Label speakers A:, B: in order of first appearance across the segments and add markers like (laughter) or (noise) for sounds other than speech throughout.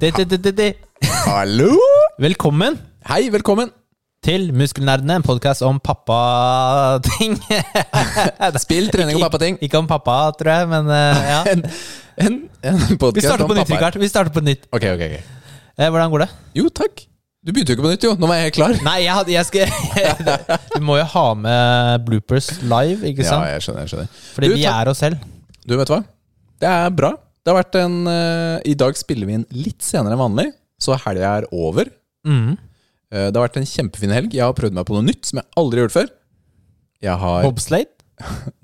A: Det, det, det, det, det.
B: Hallo!
A: Velkommen
B: Hei, velkommen.
A: til Muskelnerdene, en podkast om pappa-ting.
B: Spill, trening og pappating.
A: Ikke om pappa, tror jeg, men eh,
B: (laughs)
A: ja.
B: En, en, en
A: Vi
B: podkast
A: starter på nytt, Rikard. Vi starter på nytt.
B: Ok, ok, ok.
A: Eh, hvordan går det?
B: Jo, takk. Du begynte jo ikke på nytt, jo. Nå var jeg helt klar.
A: Nei, jeg, hadde- jeg skal (laughs) Du må jo ha med bloopers live, ikke
B: Ja,
A: sant?
B: jeg skjønner. jeg skjønner.
A: Fordi
B: Du,
A: vi
B: takk.
A: er oss selv.
B: Du, vet du hva? Det er bra. Det har vært en eh, I dag spiller vi inn litt senere enn vanlig, så helga er over.
A: Mm.
B: Eh, det har vært en kjempefin helg. Jeg har prøvd meg på noe nytt som jeg aldri har gjort før. Jeg har
A: Bobsleigh?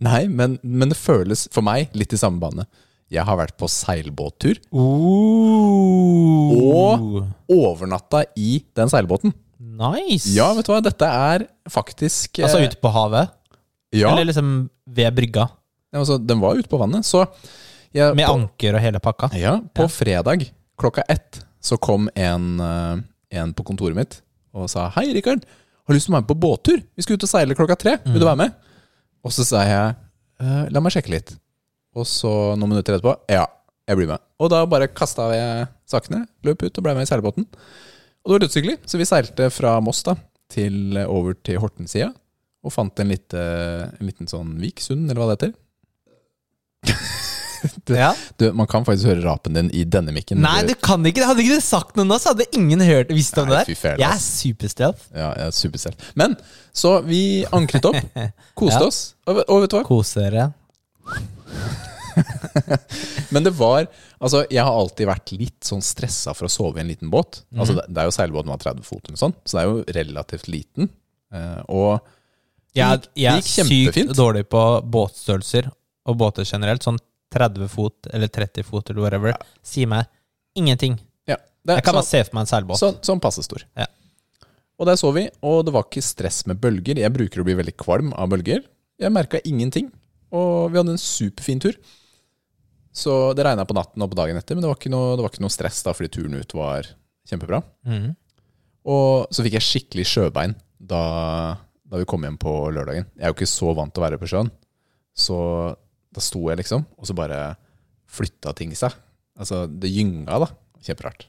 B: Nei, men, men det føles for meg litt i samme bane. Jeg har vært på seilbåttur.
A: Oh.
B: Overnatta i den seilbåten.
A: Nice!
B: Ja, vet du hva, dette er faktisk eh,
A: Altså ute på havet?
B: ja,
A: Eller liksom ved brygga?
B: altså, Den var ute på vannet, så jeg,
A: Med
B: på,
A: anker og hele pakka?
B: ja, på fredag klokka ett så kom en, eh, en på kontoret mitt og sa Hei, Rikard, har du lyst til å være med på båttur? Vi skal ut og seile klokka tre. Vil du være med? Og så sa jeg «Eh, La meg sjekke litt. Og så noen minutter etterpå Ja, jeg blir med. Og da bare kasta jeg sakene, løp ut og ble med i seilbåten. Og det var dødshyggelig, så vi seilte fra Moss da, til over til Hortensida. Og fant en, lite, en liten sånn vik, sund, eller hva det heter.
A: Ja.
B: Du, man kan faktisk høre rapen din i denne mikken.
A: Nei, du kan ikke det. Hadde ikke du sagt noe nå, så hadde ingen hørt, visst om
B: Nei,
A: det
B: fy fæl,
A: der. Jeg er superstealth.
B: Ja, jeg er superstelt. Men så vi ankret opp, koste
A: (laughs) Ja.
B: oss, og, og vet du hva?
A: Kose dere.
B: Men det var Altså, jeg har alltid vært litt sånn stressa for å sove i en liten båt.
A: Mhm.
B: Altså, det, det er jo seilbåten var 30 fot eller sånn, så det er jo relativt liten. Eh, og
A: Jeg,
B: Det gikk-
A: jeg er
B: det gikk
A: sykt
B: kjempefint.
A: dårlig på båtstørrelser og båter generelt. Sånn 30 fot eller 30 fot eller whatever. Si meg ingenting.
B: ja, det er
A: Jeg kan bare
B: sånn,
A: se for meg en seilbåt.
B: sånn, sånn passe stor.
A: Ja.
B: Og der så vi, og det var ikke stress med bølger. Jeg bruker å bli veldig kvalm av bølger. Jeg merka ingenting, og vi hadde en superfin tur. Så det regna på natten og på dagen etter, men det var ikke noe, det var ikke noe stress da, fordi turen ut var kjempebra.
A: Mhm.
B: Og så fikk jeg skikkelig sjøbein da, da vi kom hjem på lørdagen. Jeg er jo ikke så vant til å være på sjøen. Så da sto jeg liksom, og så bare flytta ting seg. Altså, det gynga, da. Kjemperart.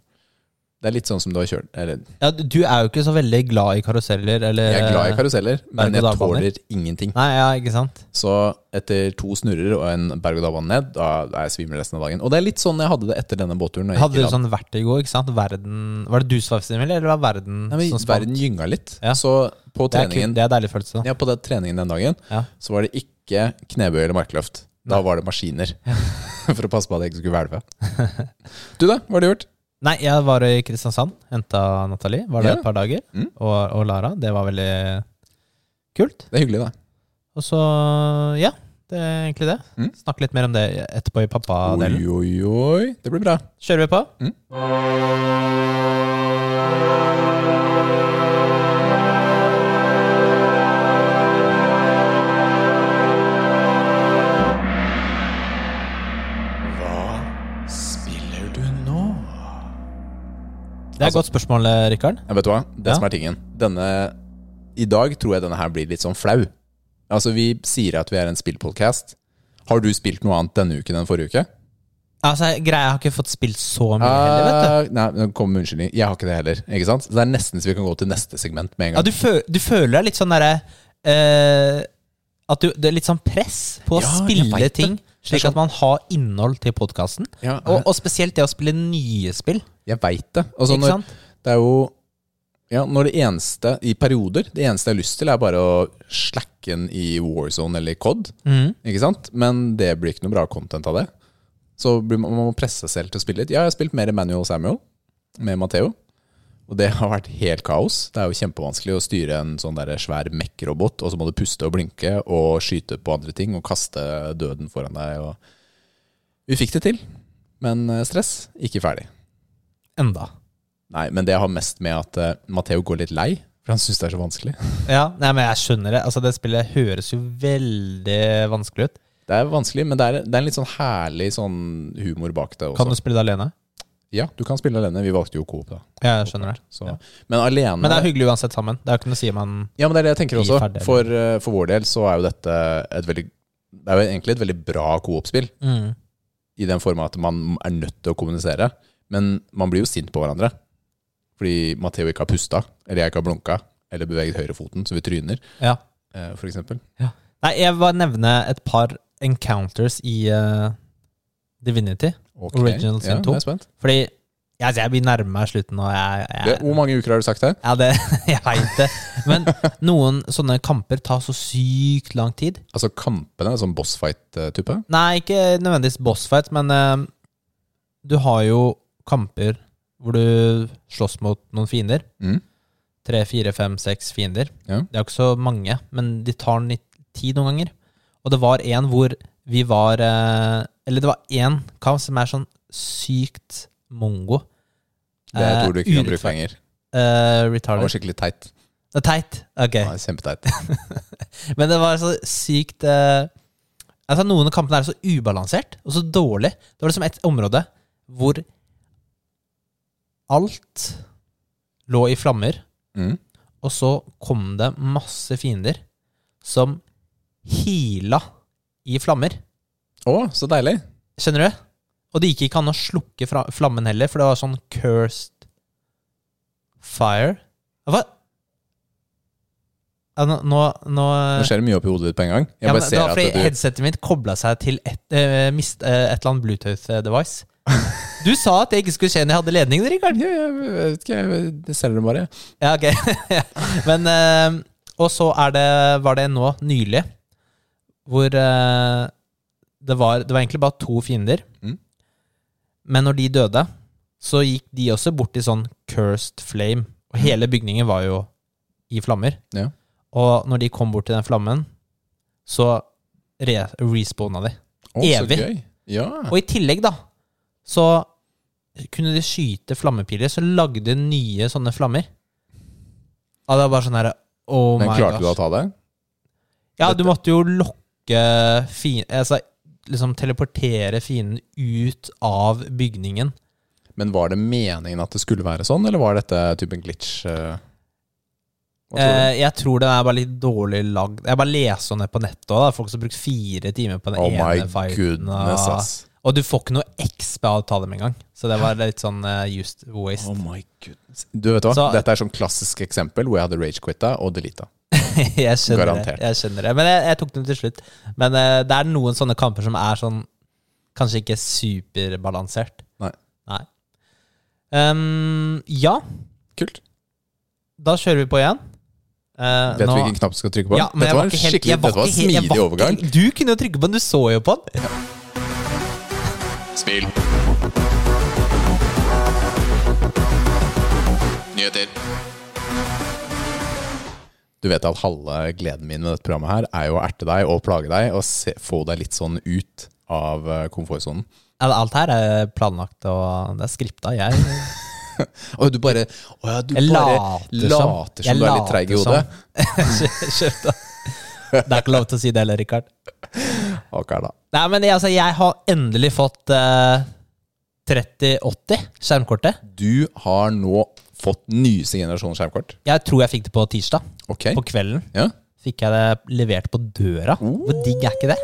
B: Det er litt sånn som du har kjørt Eller,
A: Ja, du- du er jo ikke så veldig glad i karuseller eller
B: jeg er glad i karuseller, men jeg
A: berg-og-dal-baner.
B: tåler ingenting.
A: Nei, ja, ikke sant?
B: Så etter to snurrer og en berg-og-dal-bane ned, da er jeg svimmel resten av dagen. Og det er litt sånn jeg hadde det etter denne båtturen. når jeg gikk
A: Hadde du
B: i land.
A: sånn vertigo, ikke sant? Verden Var det du som var svimmel, eller var verden
B: Nei, men
A: som spant?
B: Verden gynga litt.
A: sånn Ja.
B: Så på
A: Det er, kun,
B: treningen
A: det er deilig følelse, da.
B: Ja, på den treningen den dagen
A: Ja.
B: så var det ikke knebøy eller markløft. Da var
A: (laughs)
B: det maskiner. (laughs) For å passe på at jeg ikke skulle hvelve. (laughs) Du da, hva har du gjort?
A: Nei, jeg var i Kristiansand. Henta Nathalie. Var der
B: Ja.
A: et par dager.
B: Mm.
A: Og, og Lara. Det var veldig kult.
B: Det er hyggelig, da.
A: Og så, ja. Det er egentlig det.
B: Mm.
A: Snakke litt mer om det etterpå i pappadelen.
B: Oi, oi, oi. Det blir bra.
A: Kjører vi på?
B: Mm. Hva spiller du nå?
A: Det
B: Altså-
A: er et godt spørsmål, eh, Rikard.
B: Ja, vet du hva? Det
A: Ja.
B: som er tingen. Denne I dag tror jeg denne her blir litt sånn flau. Altså, vi sier at vi er en spillpodcast. Har du spilt noe annet denne uken enn forrige uke?
A: Altså, greia, jeg har ikke fått spilt så mye heller, vet du.
B: Eh, nei, nå kom med unnskyldning. Jeg har ikke det heller. Ikke sant? Så det er nesten så vi kan gå til neste segment med en
A: Ja,
B: gang.
A: du, fø- du føler deg litt sånn derre eh, At du Det er litt sånn press på å
B: Ja, jeg vet
A: spille
B: det.
A: ting,
B: Det
A: slik
B: er sånn-
A: at man har innhold til podkasten.
B: Ja,
A: Og, og spesielt det å spille nye spill.
B: jeg veit det. Altså,
A: ikke
B: når,
A: sant?
B: det er jo ja, når det eneste, i perioder, det eneste jeg har lyst til, er bare å slacke den i Warzone eller i COD.
A: Mhm.
B: Ikke sant? Men det blir ikke noe bra content av det. Så blir man, man må presse seg selv til å spille litt. Ja, jeg har spilt mer Manual Samuel med Matheo. Og det har vært helt kaos. Det er jo kjempevanskelig å styre en sånn der svær mekk-robot, og så må du puste og blinke og skyte på andre ting og kaste døden foran deg. Og vi fikk det til, men eh, stress. Ikke ferdig.
A: Enda.
B: Nei, men det har mest med at eh, Matheo går litt lei, for han syns det er så vanskelig.
A: Ja, nei, men jeg skjønner det. Altså, det spillet høres jo veldig vanskelig ut.
B: Det er vanskelig, men det er, det er en litt sånn herlig sånn humor bak det også.
A: Kan du spille det alene?
B: Ja, du kan spille alene. Vi valgte jo Coop, da.
A: Ja, jeg skjønner det.
B: Så. Men alene
A: Men det er hyggelig uansett sammen. Det er jo ikke noe å si man
B: Ja, men det er det jeg tenker
A: Vi
B: også.
A: ferdig.
B: For, eh, for vår del så er jo dette et veldig Det er jo egentlig et veldig bra Coop-spill,
A: mm.
B: i den form at man er nødt til å kommunisere. Men man blir jo sint på hverandre. Fordi Matheo ikke har pusta, eller jeg ikke har blunka, eller beveget høyrefoten, så vi tryner,
A: Ja.
B: eh, for eksempel.
A: Nei, jeg vil bare nevne et par encounters i eh, Divinity.
B: Ok,
A: Original Sin
B: ja,
A: to.
B: Jeg er spent.
A: Fordi jeg, jeg blir nærmere slutten, og jeg, jeg
B: Det, hvor mange uker har du sagt her?
A: Ja, det, (laughs) jeg veit det. Men noen sånne kamper tar så sykt lang tid.
B: Altså kampene, sånn bossfight-type?
A: Nei, ikke nødvendigvis bossfight, men eh, du har jo kamper hvor du slåss mot noen fiender.
B: Mm.
A: Tre, fire, fem, seks fiender.
B: Ja.
A: Det er jo ikke så mange, men de tar litt tid noen ganger. Og det var en hvor vi var eh, Eller det var én kamp som er sånn sykt mongo.
B: Det
A: Eh,
B: tror du ikke kan
A: urettfer-
B: bruke penger.
A: Eh,
B: Det
A: retarded.
B: var skikkelig teit.
A: Det er teit. Ok.
B: Det var kjempeteit.
A: (laughs) Men det var så sykt eh, Altså Noen av kampene er så ubalansert og så dårlig. Det var liksom et område hvor alt lå i flammer,
B: Mm.
A: og så kom det masse fiender som hila i flammer.
B: Å, så deilig.
A: Skjønner du? Og det gikk ikke an å slukke fra flammen heller, for det var sånn cursed fire. Hva? Ja, nå, nå, nå
B: Nå skjer det mye oppi hodet ditt på en gang. Jeg
A: Ja, men det
B: bare
A: var
B: ser
A: fordi
B: at du
A: headsetet mitt kobla seg til et, eh, mist, eh, et eller annet
B: (laughs)
A: Bluetooth-device. Du sa at det ikke skulle skje når jeg hadde ledning, Rikard.
B: ja, jeg vet ikke, jeg selger det bare.
A: Ja, ok. (laughs) Men eh, Og så er det, var det nå, nylig, hvor eh, det, var, det var egentlig bare to fiender.
B: Mm.
A: Men når de døde, så gikk de også bort i sånn cursed flame. Og hele bygningen var jo i flammer.
B: Mm. Ja.
A: Og når de kom bort til den flammen, så re respawna de.
B: Å, så
A: Evig.
B: gøy. Ja.
A: Og i tillegg, da, så kunne de skyte flammepiler, så lagde de nye sånne flammer. Ja, det var bare sånn her Oh
B: Men
A: my
B: klarte du å
A: gosh.
B: ta det?
A: Ja, du måtte jo lokke fienden Altså liksom teleportere fienden ut av bygningen.
B: Men var det meningen at det skulle være sånn, eller var dette typen glitch? eh? Hva tror du?
A: Eh, jeg tror den er bare litt dårlig lagd. Jeg bare leser om det på nettet òg. Folk som har brukt fire timer på den
B: oh my
A: ene fighten.
B: goodness,
A: Og,
B: ass.
A: og du får ikke noe XP av å ta dem engang. Så det var litt sånn eh, used waste.
B: Oh my goodness. Du vet hva,
A: Så-
B: Dette er sånn klassisk eksempel hvor jeg hadde ragequitta og deleta.
A: (laughs) jeg skjønner
B: Garantert.
A: det. Jeg skjønner det. Men jeg, jeg tok dem til slutt. Men eh, det er noen sånne kamper som er sånn Kanskje ikke superbalansert.
B: Nei.
A: Nei. Ehm, ja,
B: Kult.
A: da kjører vi på igjen. Eh,
B: Vet
A: nå-
B: du hvilken knapp du skal trykke på?
A: Ja, men jeg
B: dette var en
A: ikke helt-
B: skikkelig,
A: jeg
B: dette var en
A: ikke helt- jeg
B: smidig
A: var
B: overgang.
A: ikke- Du kunne jo trykke på den, du så jo på den.
B: Spill. Nyheter. Du vet at halve gleden min med dette programmet her er jo å erte deg og plage deg og se, få deg litt sånn ut av eh, komfortsonen.
A: Ja, Alt her er planlagt, og det er skripta. Jeg,
B: Og du bare, å ja, du
A: jeg
B: bare
A: later som.
B: later som
A: Jeg
B: du er litt treig i
A: later
B: hodet.
A: som. (laughs) Skjønt da. Det er ikke lov til å si det heller, Rikard.
B: Ok, da.
A: Nei, men jeg, altså, jeg har endelig fått eh, 3080, skjermkortet.
B: Du har nå fått nyeste generasjon skjermkort.
A: Jeg tror jeg fikk det på tirsdag.
B: Ok.
A: På kvelden
B: Ja.
A: fikk jeg det levert på døra. Hvor digg er ikke det?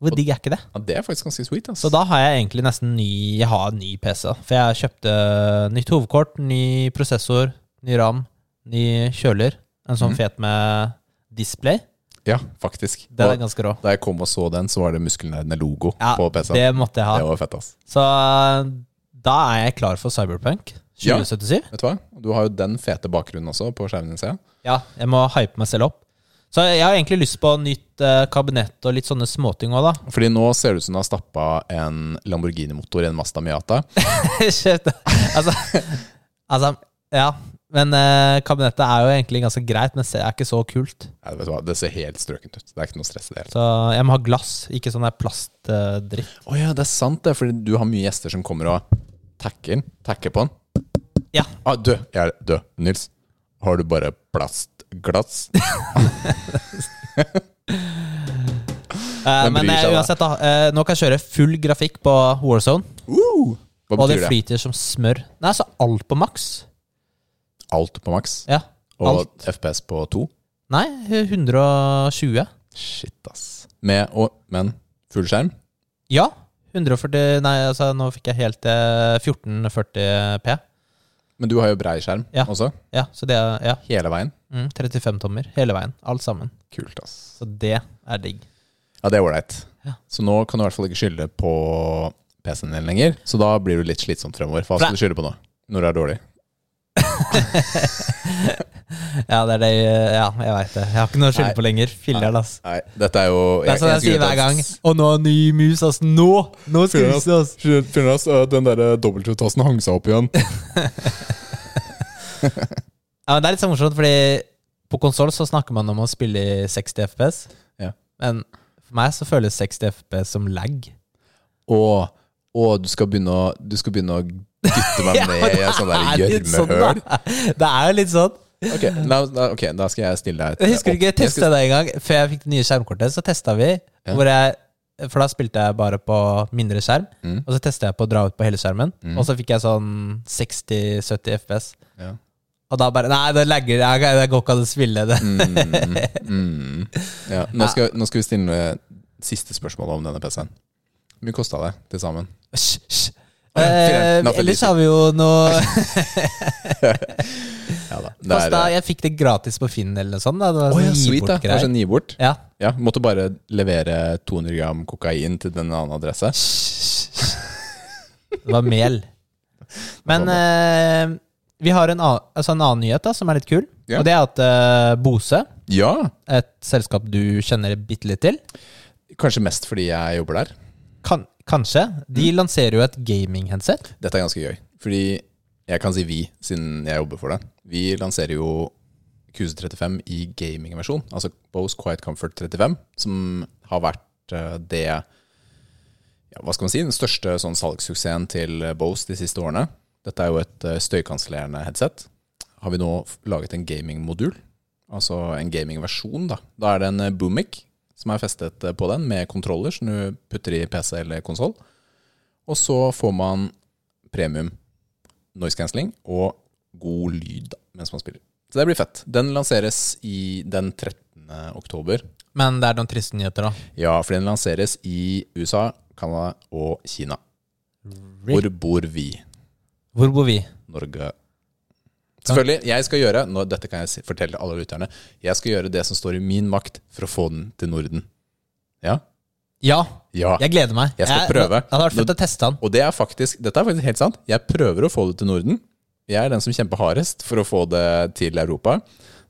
A: Hvor digg er ikke det?
B: ja, det er faktisk ganske sweet. ass.
A: Så da har jeg egentlig nesten ny Jeg har ny PC. da. For jeg kjøpte eh, nytt hovedkort, ny prosessor, ny ram, ny kjøler. En
B: Mhm.
A: sånn fet med display.
B: Ja, faktisk.
A: Den er
B: Og
A: ganske rå.
B: da jeg kom og så den, så var det muskelnerdene logo
A: Ja,
B: på PC-en.
A: Det måtte jeg ha.
B: Det var fett, ass.
A: Så eh, da er jeg klar for Cyberpunk
B: Ja.
A: 2077.
B: Vet du hva? Du har jo den fete bakgrunnen også på skjermen din, ser jeg.
A: Ja, jeg må hype meg selv opp. Så jeg har egentlig lyst på nytt eh, kabinett og litt sånne småting òg, da.
B: (laughs) Fordi nå ser det ut som du har stappa en Lamborghini-motor i en Mazda (laughs) Miata.
A: Shit. altså, altså, ja. Men eh, kabinettet er jo egentlig ganske greit, men det er ikke så kult.
B: Nei, vet du hva? Det ser helt strøkent ut. Det er ikke noe stress i det hele tatt.
A: Så jeg må ha glass, ikke sånn der plastdritt.
B: Å ja, det er sant det, fordi du har mye gjester som kommer og tacker den. Tacker på den.
A: Ja.
B: Ah, du, jeg er død. Nils, har du bare plastglass? (laughs)
A: Eh,
B: Hvem
A: men
B: bryr
A: eh,
B: seg, da?
A: uansett, da. eh, nå kan jeg kjøre full grafikk på Warzone,
B: Uh, hva
A: og det
B: betyr det?
A: flyter som smør. Nei, altså alt på maks.
B: Alt på maks?
A: Ja.
B: Og
A: Alt.
B: FPS på to?
A: Nei, 120.
B: Shit, ass. Med og Men full skjerm?
A: Ja. 140 Nei, altså nå fikk jeg helt til 1440 P.
B: Men du har jo brei skjerm
A: Ja.
B: også.
A: Ja, så det er ja,
B: Hele veien.
A: mm, 35 tommer hele veien. Alt sammen.
B: Kult, ass.
A: Så det er digg.
B: Ja, det er ålreit.
A: Ja.
B: Så nå kan du i hvert fall ikke skylde på PC-en din lenger. Så da blir det litt slitsomt fremover. Hva skal du skylde på nå? Når det er dårlig?
A: Ja, det er det Ja, jeg veit det. Jeg har ikke noe å skylde
B: Nei.
A: på lenger. Filler'n, ass.
B: Nei, dette er jo
A: Det er sånn jeg sier hver gang. Og nå er ny mus, ass. Nå! Nå skrives det, ass.
B: Fjernas, altså, den derre dobbeltutassen hang seg opp (laughs) igjen.
A: Ja, men det er litt så morsomt, fordi på konsoll så snakker man om å spille i 60 FPS.
B: Ja.
A: Men for meg så føles 60 FPS som lag.
B: Og, og du skal begynne å Du skal begynne å dytte
A: (laughs)
B: meg ned i et sånt der
A: Det er litt sånn,
B: gjørmehøl.
A: da. Det er jo litt sånn.
B: Ok, da, da, ok, da skal jeg stille deg et
A: Jeg husker du ikke jeg
B: Jeg skal-
A: testa det en gang. Før jeg fikk det nye skjermkortet, så testa vi.
B: Ja.
A: Hvor jeg, for da spilte jeg bare på mindre skjerm.
B: Mm.
A: Og så testa jeg på å dra ut på hele skjermen.
B: Mm.
A: Og så fikk jeg sånn 60-70 FPS.
B: Ja.
A: Og da bare Nei, det lagger. Jeg, jeg går ikke an å spille det.
B: Mm, mm. Ja, nå, skal, nå skal vi stille siste spørsmål om denne PC-en. Hvor mye kosta det til sammen?
A: (laughs) Hysj, hysj.
B: Å ja,
A: Eh,
B: fireren. Not a
A: ellers
B: liter.
A: har vi jo
B: (laughs)
A: noe
B: Ja da. Det er,
A: Kosta, jeg fikk det gratis på Finn eller noe sånt. Da. Det var
B: Å ja,
A: sånn gi
B: sweet, da.
A: bort-greier.
B: Kanskje ni Altså, bort?
A: Ja.
B: Ja, måtte bare levere 200 gram kokain til den annen adresse.
A: Det var
B: (laughs)
A: mel.
B: Sånn,
A: Men eh, vi har en, annen, altså en annen nyhet da, som er litt kul.
B: Ja.
A: Og det er at eh, Bose,
B: Ja,
A: et selskap du kjenner bitte litt til,
B: kanskje mest fordi jeg jobber der.
A: kan, kanskje,
B: Mm.
A: de lanserer jo et gaming-headset.
B: Dette er ganske gøy, fordi jeg kan si vi, siden jeg jobber for det. Vi lanserer jo QZ35 i gamingversjon, altså Bose Quiet Comfort 35, som har vært eh, det ja, Hva skal man si? Den største sånn salgssuksessen til Bose de siste årene. Dette er jo et eh, støykansellerende headset. Har vi nå f- laget en gamingmodul, altså en gamingversjon, da. Da er det en eh, Boomic som er festet eh, på den, med kontroller som du putter i PC eller konsoll. Og så får man premium noise cancelling og god lyd da, mens man spiller. Så det blir fett. Den lanseres i den 13. oktober.
A: Men det er noen triste nyheter, da.
B: Ja, for den lanseres i USA, Canada og Kina. Hvor bor vi?
A: Hvor bor vi?
B: Norge. Selvfølgelig, jeg skal gjøre nå, Dette kan jeg si- fortelle alle lytterne. Jeg skal gjøre det som står i min makt for å få den til Norden. Ja?
A: Ja,
B: Ja.
A: jeg gleder meg.
B: Jeg skal prøve.
A: Det hadde vært fett å teste den.
B: Og det er faktisk, dette er faktisk helt sant. Jeg prøver å få det til Norden. Jeg er den som kjemper hardest for å få det til Europa.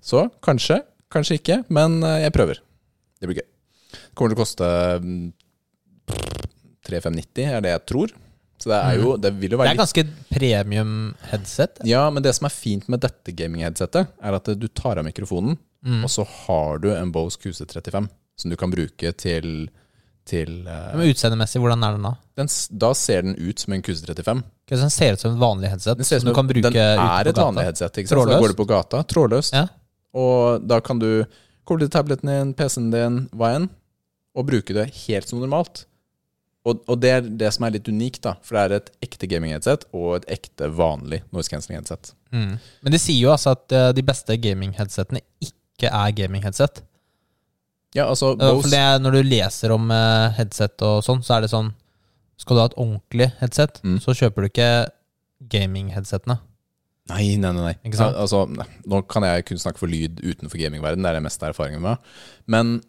B: Så kanskje, kanskje ikke, men eh, jeg prøver. Det blir gøy. Det kommer til å koste mm, 3590, er det jeg tror. Så det, er jo, det vil
A: Mm.
B: jo
A: Det
B: være
A: er ganske premium headset.
B: ja, men det som er fint med dette gaming-headsetet, er at du tar av mikrofonen,
A: Mm.
B: og så har du en Bose QC35 som du kan bruke til, til eh,
A: Men utseendemessig, hvordan er den da?
B: den, s- Da ser den ut som en QC35.
A: Ikke sant, Den ser ut som et vanlig headset.
B: Den ser ut som
A: som du kan bruke
B: den
A: ute på
B: er et
A: gata.
B: vanlig headset. Ikke sant? Så Da
A: Trådløst.
B: går du på gata, trådløst,
A: Ja.
B: og da kan du koble til tableten din, PC-en din, hva enn, og bruke det helt som normalt. Og, og det er det som er litt unikt, da, for det er et ekte gaming-headset og et ekte vanlig noise cancelling-headset.
A: Mm. Men de sier jo altså at eh, de beste gaming-headsetene ikke er gaming-headset.
B: Ja,
A: Eh,
B: altså
A: for
B: Bose
A: det er- Når du leser om eh, headset og sånn, så er det sånn Skal du ha et ordentlig headset,
B: Mm.
A: så kjøper du ikke gaming-headsetene.
B: Nei, nei, nei. nei.
A: Ikke sant?
B: Al- Altså, nei. Nå kan jeg kun snakke for lyd utenfor gamingverden, det er det meste erfaringen med. Men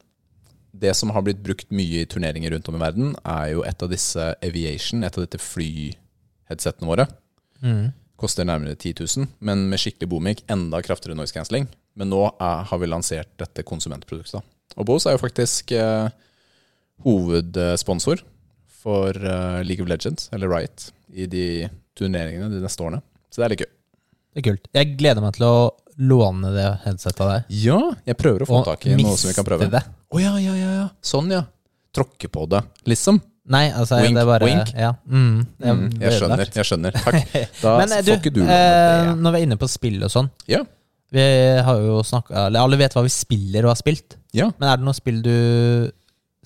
B: det som har blitt brukt mye i turneringer rundt om i verden, er jo et av disse Aviation, et av dette flyheadsetene våre.
A: Mm.
B: Koster nærmere 10 000, men med skikkelig boomik enda kraftigere noise cancelling. Men nå er, har vi lansert dette konsumentproduktet. da. Og Bose er jo faktisk eh, hovedsponsor for eh, League of Legends, eller Riot, i de turneringene de neste årene. Så det er litt gøy.
A: Det er kult. Jeg gleder meg til å låne det headsetet av deg.
B: Ja, jeg prøver å få
A: Og
B: tak i noe som vi kan prøve.
A: miste det.
B: Å ja, ja, ja, ja. Sånn, ja. Tråkke på det, liksom.
A: Nei, altså
B: Wink,
A: det er bare,
B: wink.
A: Ja. Mm, jeg,
B: Mm, jeg skjønner. jeg
A: (laughs)
B: skjønner. Takk. Da
A: Men eh, du,
B: får ikke du lov
A: eh,
B: til det.
A: når vi er inne på spill og sånn
B: Ja.
A: Vi har jo snakka Eller alle vet hva vi spiller og har spilt.
B: Ja.
A: Men er det noe spill du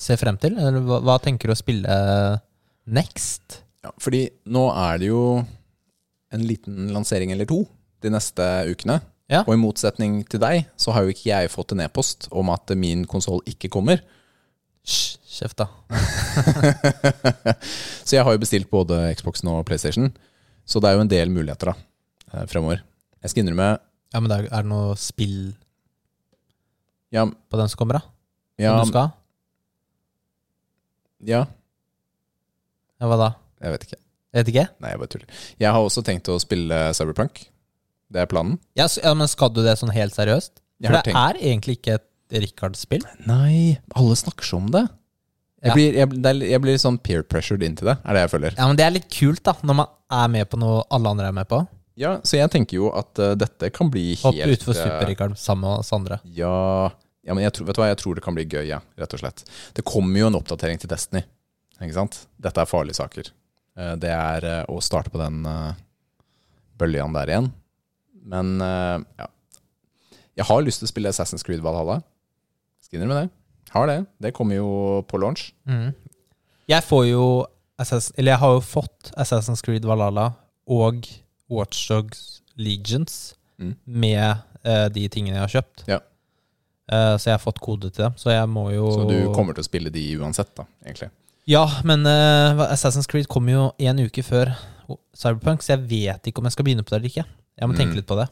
A: ser frem til? Eller hva, hva tenker du å spille next?
B: ja. Fordi nå er det jo en liten lansering eller to de neste ukene.
A: Ja.
B: Og i motsetning til deg, så har jo ikke jeg fått en e-post om at min konsoll ikke kommer. (laughs)
A: Hysj, Kjeft, da.
B: så jeg har jo bestilt både Xboxen og PlayStation, så det er jo en del muligheter da, eh, fremover. Jeg skal innrømme
A: Ja, men det er, er det noe spill
B: Ja,
A: på den som kommer, da?
B: ja,
A: Som du skal? ha?
B: ja
A: Ja, hva da?
B: jeg vet ikke.
A: Jeg vet ikke.
B: Nei, jeg bare tuller. Jeg har også tenkt å spille Cyberpunk. Det er planen.
A: Ja, s- ja, men skal du det sånn helt seriøst?
B: Jeg
A: For
B: har
A: det
B: tenkt-
A: er egentlig ikke et Richard-spill.
B: Nei, alle snakker så om det. Jeg,
A: Ja.
B: blir, jeg, det er- jeg blir sånn peer pressured into det, er det jeg føler.
A: Ja, men det er litt kult, da, når man er med på noe alle andre er med på.
B: Ja, Så jeg tenker jo at eh, dette kan bli helt
A: Hoppe utfor
B: eh,
A: Super-Richard sammen med oss andre.
B: Ja, ja men jeg tror, vet du hva, jeg tror det kan bli gøy, ja, rett og slett. Det kommer jo en oppdatering til Destiny. Ikke sant? Dette er farlige saker. Eh, Det er eh, å starte på den eh, bølgen der igjen. Men eh, ja. Jeg har lyst til å spille Assassin's Creed Valhalla. Skal innrømme det. Har det. Det kommer jo på launch.
A: Mm. Jeg får jo Assass- Eller jeg har jo fått Assassin's Creed Valhalla og Watchdogs Legions
B: Mm.
A: med eh, de tingene jeg har kjøpt.
B: Ja.
A: Eh, så jeg har fått kode til dem. Så jeg må jo
B: Så du kommer til å spille de uansett, da, egentlig.
A: Ja, men eh, hva- Assassin's Creed kommer jo en uke før Cyberpunk, så jeg vet ikke om jeg skal begynne på det eller ikke. Jeg må
B: Mm.
A: tenke litt på det.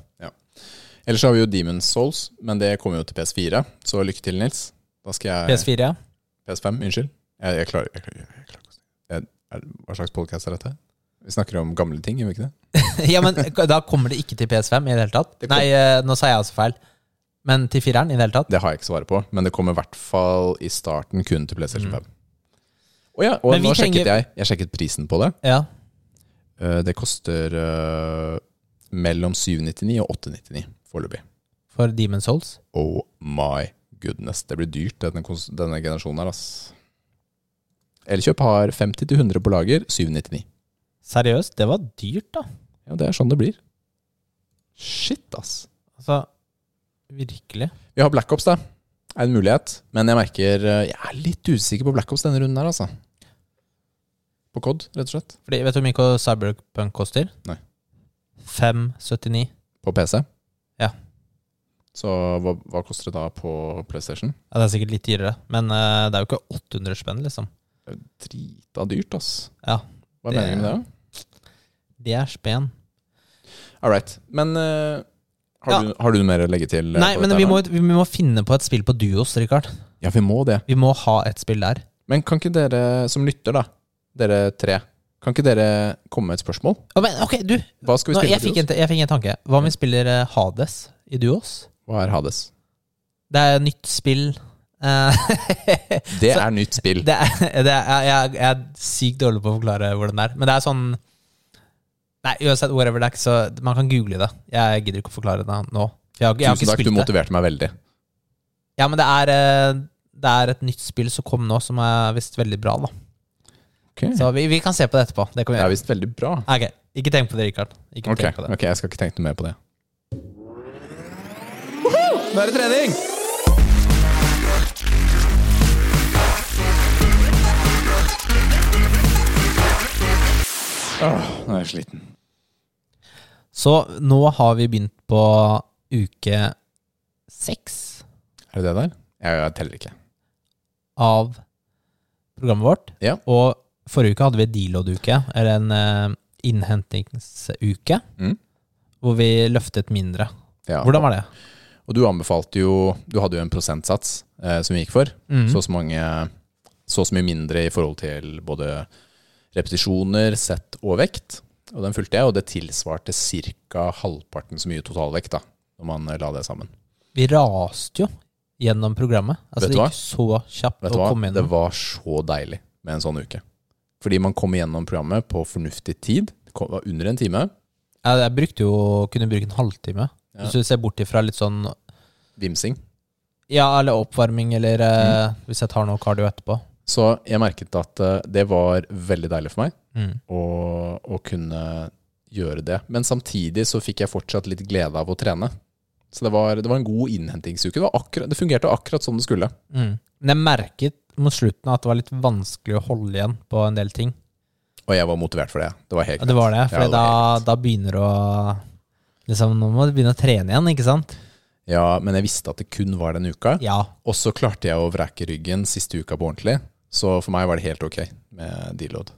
B: Ellers har vi jo Demon's Souls, men det kommer jo til PS4. Så lykke til, Nils. Da skal jeg
A: PS4, ja. (laughs)
B: PS5, unnskyld. Jeg, jeg klarer jeg, klarer- jeg, klarer ikke å snakke. jeg, er, Hva slags podkast er dette? Vi snakker om gamle ting, gjør vi ikke det?
A: ja, men da kommer det ikke til PS5 i det hele tatt.
B: Det kom-
A: Nei, eh, nå sa jeg altså feil. Men til fireren i det hele tatt.
B: Det har jeg ikke svaret på, men det kommer i hvert fall i starten kun til PlayStation
A: Mm.
B: 5. Å ja, og
A: Men vi
B: nå
A: trenger-
B: sjekket jeg Jeg sjekket prisen på det.
A: Ja.
B: Eh, Det koster eh, mellom 799 og 899 foreløpig.
A: For Demon's Souls.
B: Oh my goodness. Det blir dyrt, denne, kons- denne generasjonen her, ass. Elkjøp har 50-100 på lager, 799.
A: Seriøst, det var dyrt, da.
B: Ja, det er sånn det blir. Shit, ass.
A: Altså, virkelig.
B: Vi har Black Ops, da. Er en mulighet. Men jeg merker eh, Jeg er litt usikker på Black Ops denne runden her, altså. På COD, rett og slett.
A: Fordi, vet du hvor mye ko- Cyberpunk koster?
B: Nei.
A: 579.
B: På PC.
A: Ja.
B: Så hva, hva koster det da på PlayStation?
A: Ja, det er sikkert litt dyrere, men eh, det er jo ikke 800 spenn, liksom.
B: Drita dyrt, ass.
A: Ja,
B: Hva er
A: Det-
B: meningen med det? da?
A: det er spen.
B: All right. Men eh, har,
A: Ja.
B: du, har du noe mer å legge til? eh,
A: Nei,
B: på
A: men
B: dette
A: vi
B: her
A: må,
B: nå?
A: vi må finne på et spill på duos, Richard.
B: Ja, vi må det.
A: Vi må ha et spill der.
B: Men kan ikke dere som lytter, da, dere tre, kan ikke dere komme med et spørsmål?
A: Å, men, ok, du!
B: Hva skal vi
A: Nå,
B: spille
A: jeg,
B: på
A: fikk en,
B: duos? Mm.
A: ta- jeg fikk en tanke. Hva om vi spiller eh, Hades i duos?
B: Hva er Hades?
A: Det er et nytt spill. Eh, (laughs)
B: Det er nytt spill.
A: det er, det er, jeg, jeg er sykt dårlig på å forklare hvordan det er. Men det er sånn Nei, uansett, whatever det er, ikke så man kan google det. Jeg gidder ikke å forklare det nå. For jeg har, ikke- jeg har
B: Tusen
A: ikke
B: takk, du
A: spilt det.
B: motiverte meg veldig.
A: Ja, men det er, eh, det er et nytt spill som kom nå, som er visst veldig bra. da
B: Mm. Ok.
A: Så vi, vi kan se på det etterpå. Det kan vi
B: Det er
A: gjøre.
B: visst veldig bra.
A: Ah, Ok, Ikke tenk på det, Rikard. Ikke
B: Ok,
A: tenk på det.
B: ok, jeg skal ikke tenke noe mer på det. Nå er det trening! Åh, nå er jeg sliten.
A: Så nå har vi begynt på uke seks
B: Er det det der? Jeg, jeg teller ikke.
A: av programmet vårt.
B: Ja.
A: Og forrige uke hadde vi deload-uke, eller en eh, innhentingsuke,
B: Mm.
A: hvor vi løftet mindre.
B: Ja.
A: Hvordan var det?
B: Og du anbefalte jo Du hadde jo en prosentsats eh, som vi gikk for.
A: Mm.
B: Så og så mange Så og så mye mindre i forhold til både repetisjoner, sett og vekt. Og den fulgte jeg, og det tilsvarte ca. halvparten så mye totalvekt da, når man eh, la det sammen.
A: Vi raste jo gjennom programmet. Altså,
B: Vet
A: det
B: du
A: gikk så kjapt
B: Vet du
A: å
B: hva?
A: komme
B: Det
A: gjennom.
B: var så deilig med en sånn uke. Fordi man kom igjennom programmet på fornuftig tid. Det kom- var under en time.
A: Ja, jeg brukte jo, kunne bruke en halvtime.
B: Ja.
A: Hvis du ser bort ifra litt sånn
B: Vimsing.
A: Ja, eller oppvarming, eller eh,
B: Mm.
A: hvis jeg tar noe cardio etterpå.
B: Så jeg merket at eh, det var veldig deilig for meg.
A: Mm.
B: å, å kunne gjøre det. Men samtidig så fikk jeg fortsatt litt glede av å trene. Så det var, det var en god innhentingsuke. Det, var akkurat, det fungerte akkurat som det skulle.
A: Mm. Men jeg merket mot slutten at det var litt vanskelig å holde igjen på en del ting.
B: Og jeg var motivert for det. Det var helt
A: Ja, det var det.
B: greit.
A: For
B: Ja,
A: da,
B: var helt greit.
A: da begynner du å liksom, Nå må du begynne å trene igjen, ikke sant?
B: ja, men jeg visste at det kun var den uka.
A: Ja.
B: Og så klarte jeg å vreke ryggen siste uka på ordentlig. Så for meg var det helt ok med deload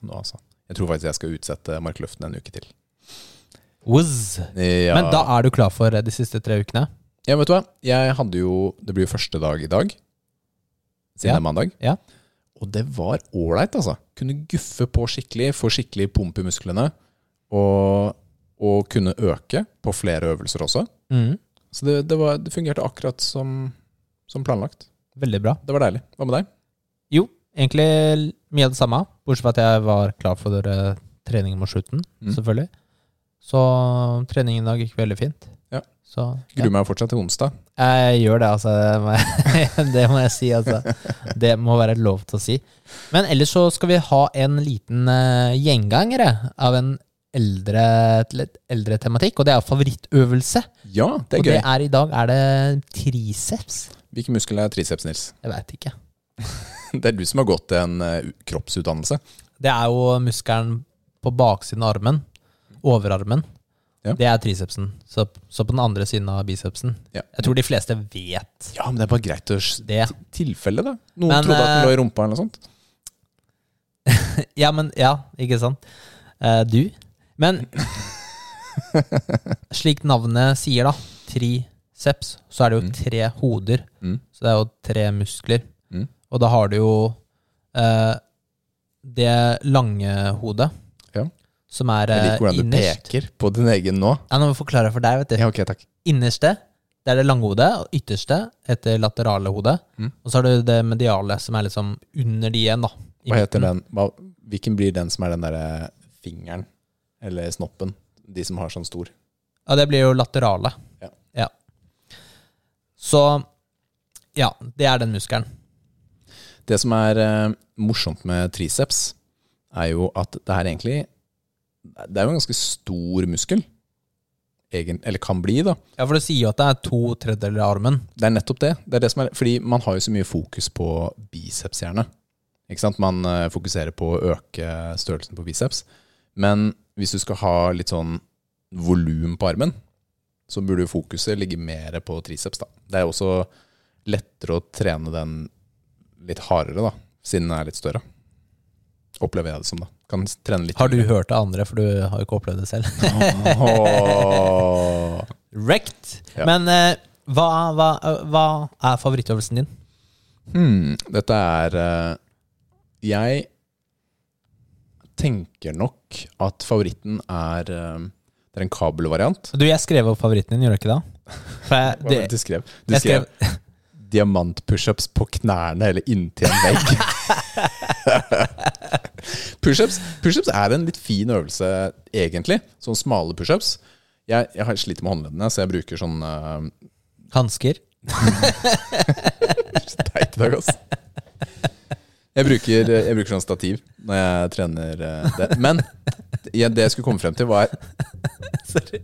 B: nå, altså. Jeg tror faktisk jeg skal utsette markløften en uke til.
A: Whizz.
B: Ja.
A: Men da er du klar for eh, de siste tre ukene?
B: Ja, vet du hva? Jeg hadde jo Det blir jo første dag i dag. Siden
A: Ja.
B: det er mandag.
A: Ja.
B: Og det var ålreit, altså. Kunne guffe på skikkelig, få skikkelig pump i musklene. Og, og kunne øke på flere øvelser også.
A: Mm.
B: Så det, det, var, det fungerte akkurat som, som planlagt.
A: Veldig bra.
B: Det var deilig. Hva med deg?
A: Jo, egentlig l- mye av det samme, bortsett fra at jeg var klar for eh, trening mot slutten,
B: Mm.
A: selvfølgelig. Så treningen i dag gikk veldig fint.
B: Ja.
A: Så ja.
B: Gruer meg fortsatt til onsdag.
A: jeg gjør det, altså. Det må jeg, (laughs) det må jeg si, altså. Det må være lov til å si. Men ellers så skal vi ha en liten eh, gjenganger eh, av en eldre, til et eldre tematikk, og det er favorittøvelse.
B: Ja, det er
A: og
B: gøy.
A: det er i dag er det triceps.
B: Hvilken muskel er triceps, Nils?
A: Jeg veit ikke.
B: (laughs) Det er du som har gått til en eh, kroppsutdannelse.
A: Det er jo muskelen på baksiden av armen. Overarmen.
B: Ja.
A: Det er tricepsen. Så, så på den andre siden av bicepsen.
B: Ja.
A: Jeg tror de fleste vet
B: Ja, men det er bare greit å s-
A: det.
B: tilfelle, da. Noen
A: Men,
B: trodde at den
A: eh,
B: lå i rumpa eller noe sånt.
A: Ja, men Ja, ikke sant? Eh, du?
B: (laughs)
A: Men slik navnet sier, da, triceps, så er det jo tre hoder.
B: Mm.
A: Så det er jo tre muskler.
B: Mm.
A: Og da har du jo eh, det lange hodet,
B: Ja.
A: som er
B: Jeg
A: eh,
B: liker hvordan du
A: innerst.
B: peker på din egen nå.
A: Ja, nå må jeg forklare for deg, vet du.
B: Ja, ok, takk.
A: Innerste, det er det lange hodet, og ytterste heter laterale hodet.
B: Mm.
A: Og så har du det mediale, som er liksom under de igjen, da. i
B: Hva heter
A: midten.
B: den? Hva, hvilken blir den som er den derre fingeren? Eller snoppen? De som har sånn stor.
A: Ja, det blir jo laterale.
B: Ja.
A: Så ja, det er den muskelen.
B: Det som er eh, morsomt med triceps, er jo at det her egentlig Det er jo en ganske stor muskel. Egen, eller kan bli, da.
A: Ja, for du sier jo at det er to tredjedeler av armen.
B: Det er nettopp det. det, er det som er, fordi man har jo så mye fokus på biceps gjerne. Ikke sant? Man eh, fokuserer på å øke størrelsen på biceps. Men hvis du skal ha litt sånn volum på armen, så burde jo fokuset ligge mer på triceps. da. Det er jo også lettere å trene den litt hardere, da, siden den er litt større. Opplever jeg det som, da. Kan trene litt
A: Har du hørt det andre, for du har jo ikke opplevd det selv? (laughs)
B: Åh.
A: Wrecked!
B: Ja.
A: Men eh, hva, hva, hva er favorittøvelsen din?
B: Hmm, dette er eh, Jeg tenker nok at favoritten er eh, Det er en kabelvariant.
A: Du, jeg skrev opp favoritten din, gjorde jeg ikke det? For jeg,
B: (laughs)
A: det,
B: Hva var det du skrev Du
A: jeg
B: skrev diamantpushups på knærne eller inntil en vegg. (laughs) pushups push er en litt fin øvelse, egentlig. Sånn smale pushups. Jeg, jeg har- sliter med håndleddene, så jeg bruker sånn eh,
A: hansker. (laughs)
B: (laughs) teit i dag, ass. Jeg bruker, jeg bruker sånn stativ når jeg trener eh, det. Men ja, det jeg skulle komme frem til, var
A: Sorry.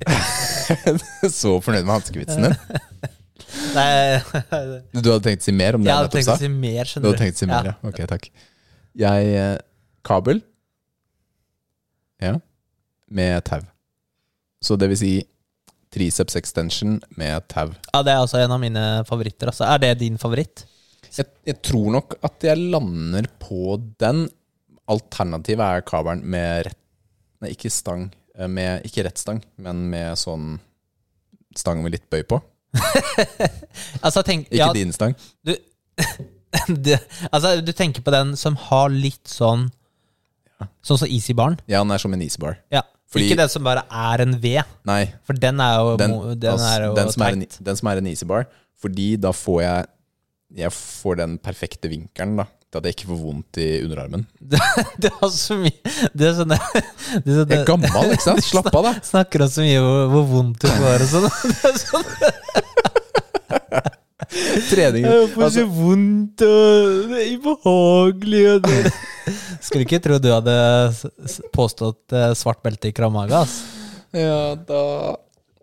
B: Så fornøyd med hanskevitsen din. (laughs)
A: Nei,
B: Du hadde tenkt å si mer om det
A: Jeg
B: jeg
A: hadde tenkt å
B: nettopp sa?
A: si mer,
B: Du
A: skjønner
B: hadde tenkt å si mer, ja. Ok, takk. Jeg eh, Kabel. Ja. Med tau. Så det vil si triceps extension med tau.
A: Ja, Det er også en av mine favoritter. Altså. Er det din favoritt?
B: Jeg, jeg tror nok at jeg lander på den. Alternativet er kabelen med rett Nei, ikke stang. eh, Med, ikke rett stang, men med sånn stang med litt bøy på.
A: Altså, tenk,
B: Ikke
A: ja,
B: din stang.
A: (laughs) det, altså, du tenker på den som har litt sånn Sånn som Easy Barn?
B: Ja, den er som en easebar.
A: Ja.
B: Fordi-
A: ikke den som bare er en V,
B: Nei,
A: for den er jo
B: den,
A: mo- den
B: altså,
A: er jo
B: den, som er en,
A: teit. (laughs)
B: den som er en easebar. Fordi da får jeg Jeg får den perfekte vinkelen, da. Til at jeg ikke får vondt i underarmen.
A: Det er så mye Det er sånn (laughs) det, er sånn-
B: Jeg er gammel, ikke
A: (laughs)
B: sant? Slapp av, da.
A: Snakker om så mye hvor, hvor vondt det var og sånn. (laughs) Det er sånn
B: Trening
A: Jeg får
B: altså,
A: så vondt og det er ubehagelig og det. (laughs) Skulle ikke tro du hadde s- s- påstått eh, svart belte i Kramaga, ass.
B: Ja, da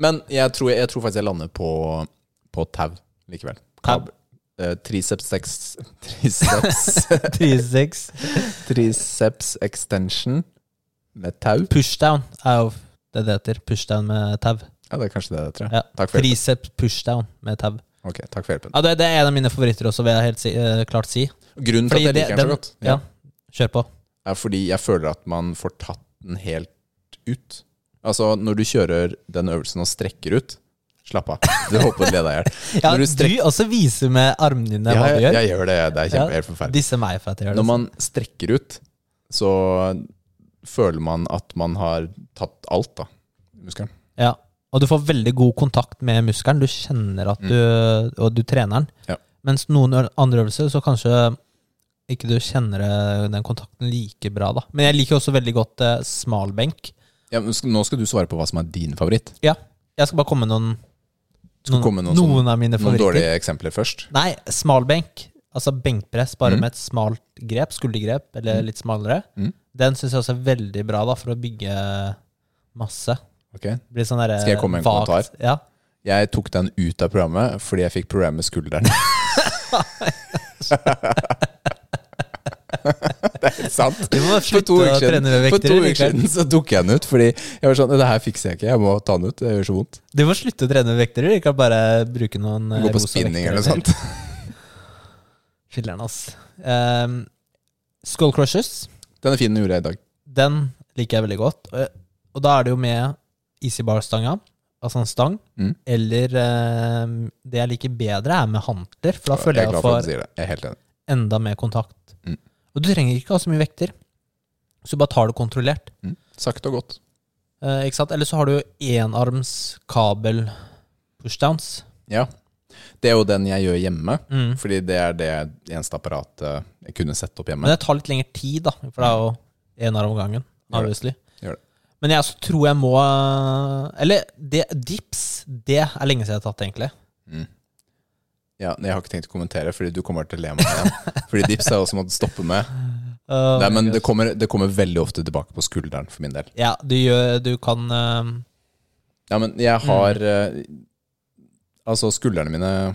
B: Men jeg tror, jeg tror faktisk jeg lander på, på tau likevel.
A: Tau.
B: Eh, triceps ex, (laughs)
A: (laughs)
B: triceps,
A: 36.
B: triceps extension med tau.
A: Pushdown er jo det det heter. Pushdown med tau.
B: Ja, det er kanskje det det heter.
A: Ja.
B: Takk for hjelpen.
A: Triceps pushdown med tau.
B: Ok, takk for hjelpen.
A: Ja, det, det er en av mine favoritter også, vil jeg helt si, eh, klart si.
B: Grunnen til
A: Fordi
B: at jeg
A: det-
B: liker den så
A: den-
B: godt,
A: Ja, kjør på.
B: er fordi jeg føler at man får tatt den helt ut. Altså, når du kjører den øvelsen og strekker ut Slapp av. Du holdt på å le deg i hjel.
A: (laughs) Ja,
B: Når
A: du,
B: du strekker-
A: også viser med armene dine
B: Ja,
A: hva du
B: jeg,
A: gjør.
B: jeg gjør det. Det er
A: Ja.
B: kjempe, helt forferdelig.
A: Disse meg for at jeg gjør det.
B: Når man strekker ut, så føler man at man har tatt alt, da. Muskelen.
A: Ja, og du får veldig god kontakt med muskelen. Du kjenner at du Og du trener den.
B: Mm. Ja.
A: Mens noen ø- andre øvelser så kanskje ikke du kjenner eh, den kontakten like bra, da. Men jeg liker også veldig godt eh, smalbenk.
B: Ja, men sk- nå skal du svare på hva som er din favoritt.
A: Ja, jeg skal bare komme med noen noen,
B: komme noen
A: noen,
B: sånn-
A: av mine
B: Noen
A: favoritter.
B: dårlige eksempler først.
A: Nei, smalbenk. Altså benkpress, bare
B: Mm.
A: med et smalt grep, skuldergrep, eller litt smalere.
B: Mm.
A: Den syns jeg også er veldig bra, da, for å bygge masse.
B: Ok
A: Det Blir sånn derre
B: Skal jeg komme med en
A: vagt-
B: kommentar?
A: Ja.
B: Jeg tok den ut av programmet fordi jeg fikk problemer
A: (laughs)
B: med skulderen. (laughs) det er helt sant.
A: Du må
B: For to
A: slutte å
B: uker siden,
A: trene med
B: for
A: vekter.
B: to uker
A: Rikard.
B: siden så tok jeg den ut, fordi jeg var sånn Det her fikser jeg ikke, jeg må ta den ut. Det gjør så vondt.
A: Du må slutte å trene vekter. Du kan bare bruke noen eh,
B: Gå på
A: rosa
B: spinning
A: vekter
B: eller noe sånt.
A: Filler'n, ass. Ehm, Skull Crushers,
B: (laughs) Den er fin, den gjorde jeg i dag.
A: den liker jeg veldig godt. Og, og da er det jo med Easy Bar-stanga, altså en stang,
B: Mm.
A: eller ehm, Det jeg liker bedre, er med hantler, for da
B: Jeg
A: føler
B: er
A: jeg
B: glad
A: jeg
B: for at du
A: får
B: sier det. Jeg er helt enig.
A: enda mer kontakt.
B: Mm.
A: Og du trenger ikke ha så mye vekter, så du bare tar det kontrollert.
B: Mm. Sakte og godt.
A: Eh, ikke sant? Eller så har du jo enarms kabel pushdowns.
B: Ja. Det er jo den jeg gjør hjemme,
A: Mm.
B: fordi det er det eneste apparatet jeg kunne sette opp
A: Men
B: hjemme.
A: det tar litt lengre tid, da. For det er jo en arm om gangen.
B: Gjør det.
A: Obviously.
B: Gjør det.
A: Men jeg også tror jeg må eh, Eller det, dips, det er lenge siden jeg har tatt, egentlig.
B: Mm. Ja, jeg har ikke tenkt å kommentere, fordi du kommer til å le meg
A: (laughs)
B: igjen. Fordi dips er også måttet stoppe med.
A: Uh,
B: Nei, men det kommer, det kommer veldig ofte tilbake på skulderen for min del.
A: Ja, du, gjør, du kan eh,
B: Ja, men jeg har
A: Mm.
B: eh, Altså, skuldrene mine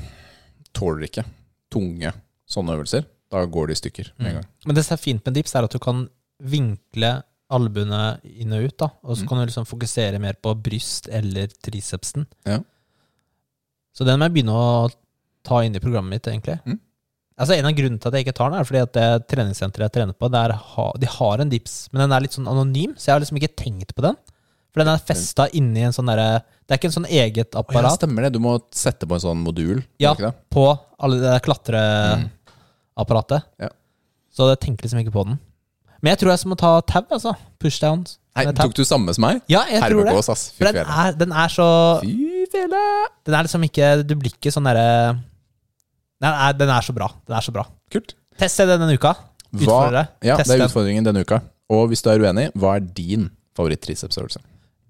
B: tåler ikke tunge sånne øvelser. Da går de i stykker med en gang.
A: mm. Men det som er fint med dips, er at du kan vinkle albuene inn og ut. da Og
B: Mm.
A: så kan du liksom fokusere mer på bryst eller tricepsen.
B: Ja.
A: Så den må jeg begynne å ta inn i programmet mitt, egentlig.
B: Mm.
A: Altså En av grunnene til at jeg ikke tar den, er fordi at det treningssenteret jeg trener på, der ha, de har en dips, men den er litt sånn anonym, så jeg har liksom ikke tenkt på den. For den er festa inni en sånn derre Det er ikke en sånn eget
B: Å, ja,
A: apparat
B: stemmer det. Du må sette på en sånn modul. må
A: Ja.
B: du Ikke det?
A: på alle det der klatreapparatet.
B: Mm. Ja.
A: Så jeg tenker liksom ikke på den. Men jeg tror jeg må ta tau, altså. Pushdowns.
B: Nei,
A: med tau.
B: tok du samme som meg?
A: Ja, jeg tror det.
B: Hermegås, ass. Fy
A: For den
B: fele.
A: er, den er så
B: Fy fele!
A: Den er liksom ikke Du blir ikke sånn derre Nei, den er, den er så bra. Den er så bra.
B: Kult.
A: Test det denne uka. Utfordre
B: Hva,
A: deg.
B: ja,
A: Test
B: det er
A: den.
B: utfordringen denne uka. Og hvis du er uenig, hva er din favoritt-tricepsøvelse?